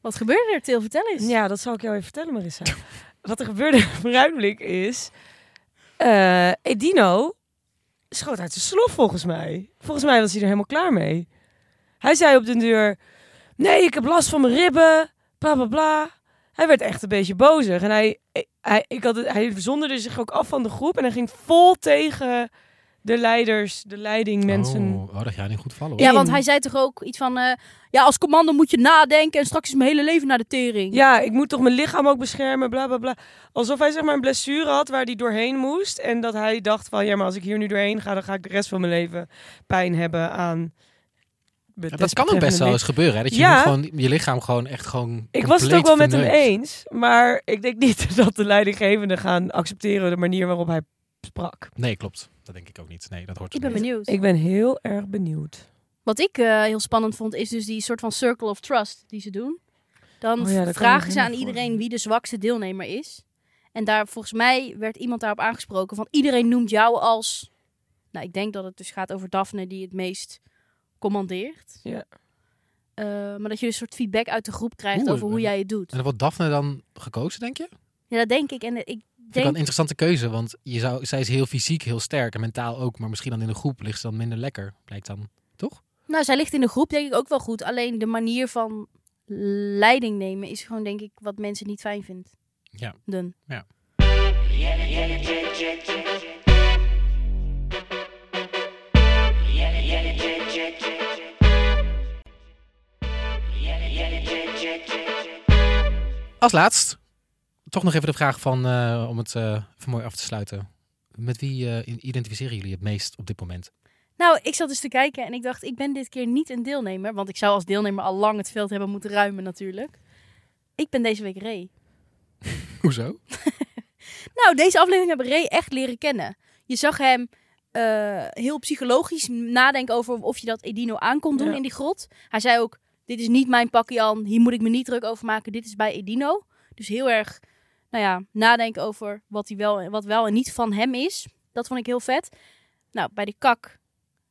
[SPEAKER 2] Wat gebeurde er, Til? Vertel eens.
[SPEAKER 3] Ja, dat zal ik jou even vertellen, Marissa. Wat er gebeurde in vooruitblik is... eh, Edino schoot uit zijn slof, volgens mij. Volgens mij was hij er helemaal klaar mee. Hij zei op de deur... Nee, ik heb last van mijn ribben. Bla, bla, bla. Hij werd echt een beetje bozig. En hij, hij, ik had het, hij verzonderde zich ook af van de groep. En hij ging vol tegen de leiders, de leiding, mensen...
[SPEAKER 1] Oh, oh, dat gaat niet goed vallen hoor.
[SPEAKER 2] Ja,
[SPEAKER 3] in.
[SPEAKER 2] want hij zei toch ook iets van, eh, ja, als commando moet je nadenken en straks is mijn hele leven naar de tering.
[SPEAKER 3] Ja, ik moet toch mijn lichaam ook beschermen, bla bla bla. Alsof hij zeg maar een blessure had waar hij doorheen moest. En dat hij dacht van, ja, maar als ik hier nu doorheen ga, dan ga ik de rest van mijn leven pijn hebben aan...
[SPEAKER 1] Ja, dat kan ook best wel eens gebeuren. Hè? Dat je
[SPEAKER 3] Ja.
[SPEAKER 1] moet gewoon je lichaam gewoon echt gewoon.
[SPEAKER 3] Ik was het ook wel
[SPEAKER 1] compleet
[SPEAKER 3] met hem
[SPEAKER 1] verneukt.
[SPEAKER 3] eens, maar ik denk niet dat de leidinggevenden gaan accepteren de manier waarop hij sprak.
[SPEAKER 1] Nee, klopt. Dat denk ik ook niet. Nee, dat hoort.
[SPEAKER 2] Ik
[SPEAKER 1] zo
[SPEAKER 2] ben
[SPEAKER 1] niet.
[SPEAKER 2] benieuwd.
[SPEAKER 3] Ik ben heel erg benieuwd.
[SPEAKER 2] Wat ik eh, heel spannend vond, is dus die soort van circle of trust die ze doen. Dan
[SPEAKER 3] Oh ja, dat kan ik me
[SPEAKER 2] vragen ze
[SPEAKER 3] helemaal
[SPEAKER 2] aan iedereen wie de zwakste deelnemer is. En daar, volgens mij werd iemand daarop aangesproken van iedereen noemt jou als... Nou, ik denk dat het dus gaat over Daphne die het meest commandeert.
[SPEAKER 3] Ja.
[SPEAKER 2] Eh, maar dat je een soort feedback uit de groep krijgt
[SPEAKER 1] Oeh, eh.
[SPEAKER 2] over hoe
[SPEAKER 1] en-
[SPEAKER 2] jij het doet.
[SPEAKER 1] En dan wordt Daphne dan gekozen, denk je? Vind
[SPEAKER 2] Ja, dat denk ik. En eh, ik
[SPEAKER 1] ik wel
[SPEAKER 2] denk
[SPEAKER 1] een interessante keuze, want je zou, zij is heel fysiek heel sterk en mentaal ook, maar misschien dan in de groep ligt ze dan minder lekker, blijkt dan.
[SPEAKER 2] Nou, zij ligt in de groep denk ik ook wel goed. Alleen de manier van leiding nemen is gewoon denk ik wat mensen niet fijn vindt.
[SPEAKER 1] Ja.
[SPEAKER 2] Dun.
[SPEAKER 1] Ja. Als laatst, toch nog even de vraag van, eh, om het eh even mooi af te sluiten. Met wie eh, in- identificeren jullie het meest op dit moment?
[SPEAKER 2] Nou, ik zat dus te kijken en ik dacht, ik ben dit keer niet een deelnemer. Want ik zou als deelnemer al lang het veld hebben moeten ruimen natuurlijk. Ik ben deze week Ray.
[SPEAKER 1] Hoezo?
[SPEAKER 2] Nou, deze aflevering hebben Ray echt leren kennen. Je zag hem eh, heel psychologisch nadenken over of je dat Edino aan kon doen
[SPEAKER 3] Ja.
[SPEAKER 2] in die grot. Hij zei ook, dit is niet mijn pakje aan, hier moet ik me niet druk over maken, dit is bij Edino. Dus heel erg, nou ja, nadenken over wat, hij wel, en- wat wel en niet van hem is. Dat vond ik heel vet. Nou, bij de kak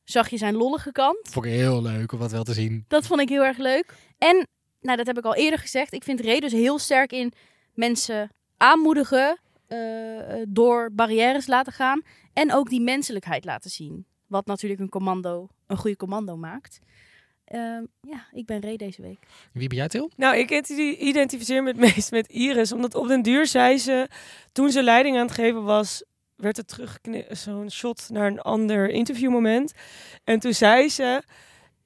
[SPEAKER 2] zag je zijn lollige kant.
[SPEAKER 1] Vond ik heel leuk om dat wel te zien.
[SPEAKER 2] Dat vond ik heel erg leuk. En, nou, dat heb ik al eerder gezegd. Ik vind Ray dus heel sterk in mensen aanmoedigen eh, eh, door barrières laten gaan. En ook die menselijkheid laten zien. Wat natuurlijk een commando, een goede commando maakt. Ehm, ja, ik ben Ray deze week.
[SPEAKER 1] Wie ben jij, Til?
[SPEAKER 3] Nou, ik identi- identificeer me het meest met Iris. Omdat op den duur zei ze, toen ze leiding aan het geven was, werd het teruggeknipt, zo'n shot naar een ander interviewmoment. En toen zei ze,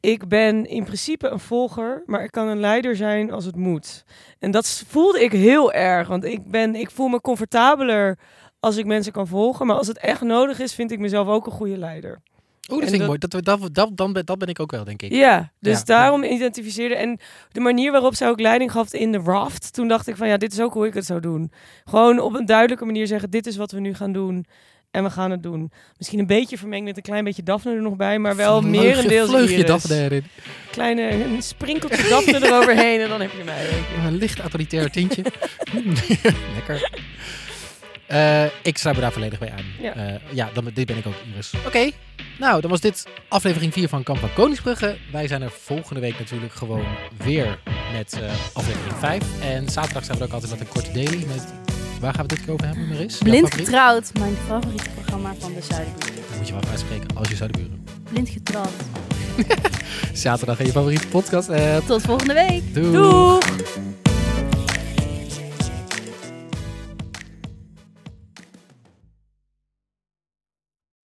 [SPEAKER 3] ik ben in principe een volger, maar ik kan een leider zijn als het moet. En dat s- voelde ik heel erg, want ik, ben, ik voel me comfortabeler als ik mensen kan volgen. Maar als het echt nodig is, vind ik mezelf ook een goede leider.
[SPEAKER 1] Oeh, dat vind
[SPEAKER 3] En
[SPEAKER 1] ik
[SPEAKER 3] dat-
[SPEAKER 1] mooi. Dat, dat, dat, dan ben, dat ben ik ook wel, denk ik.
[SPEAKER 3] Ja, dus
[SPEAKER 1] Ja.
[SPEAKER 3] daarom identificeerde. En de manier waarop zij ook leiding gaf in de raft, toen dacht ik van ja, dit is ook hoe ik het zou doen. Gewoon op een duidelijke manier zeggen, dit is wat we nu gaan doen. En we gaan het doen. Misschien een beetje vermengd met een klein beetje Daphne er nog bij, maar wel
[SPEAKER 1] Vleugje-
[SPEAKER 3] merendeels
[SPEAKER 1] Vleugje
[SPEAKER 3] Iris.
[SPEAKER 1] Daphne erin.
[SPEAKER 3] Kleine een sprinkeltje Daphne eroverheen en dan heb je mij. denk ik.
[SPEAKER 1] Een licht autoritair tintje. Mm, Lekker. Eh, ik sluit me daar volledig bij aan.
[SPEAKER 3] Ja.
[SPEAKER 1] Eh, ja dan, dit ben ik ook Iris. Oké, nou, dan was dit aflevering 4 van Kamp van Koningsbrugge. Wij zijn er volgende week natuurlijk gewoon weer met eh, aflevering 5. En zaterdag zijn we er ook altijd met een korte daily. Met, waar gaan we dit keer over hebben, Maris? Jouw
[SPEAKER 2] Blind
[SPEAKER 1] favoriet?
[SPEAKER 2] getrouwd, mijn favoriete programma van de Zuiderbuurt.
[SPEAKER 1] Dat moet je wel even uitspreken als je zou de buren.
[SPEAKER 2] Blind getrouwd.
[SPEAKER 1] Zaterdag in je favoriete podcast app.
[SPEAKER 2] Tot volgende week.
[SPEAKER 1] Doei.
[SPEAKER 3] Doeg!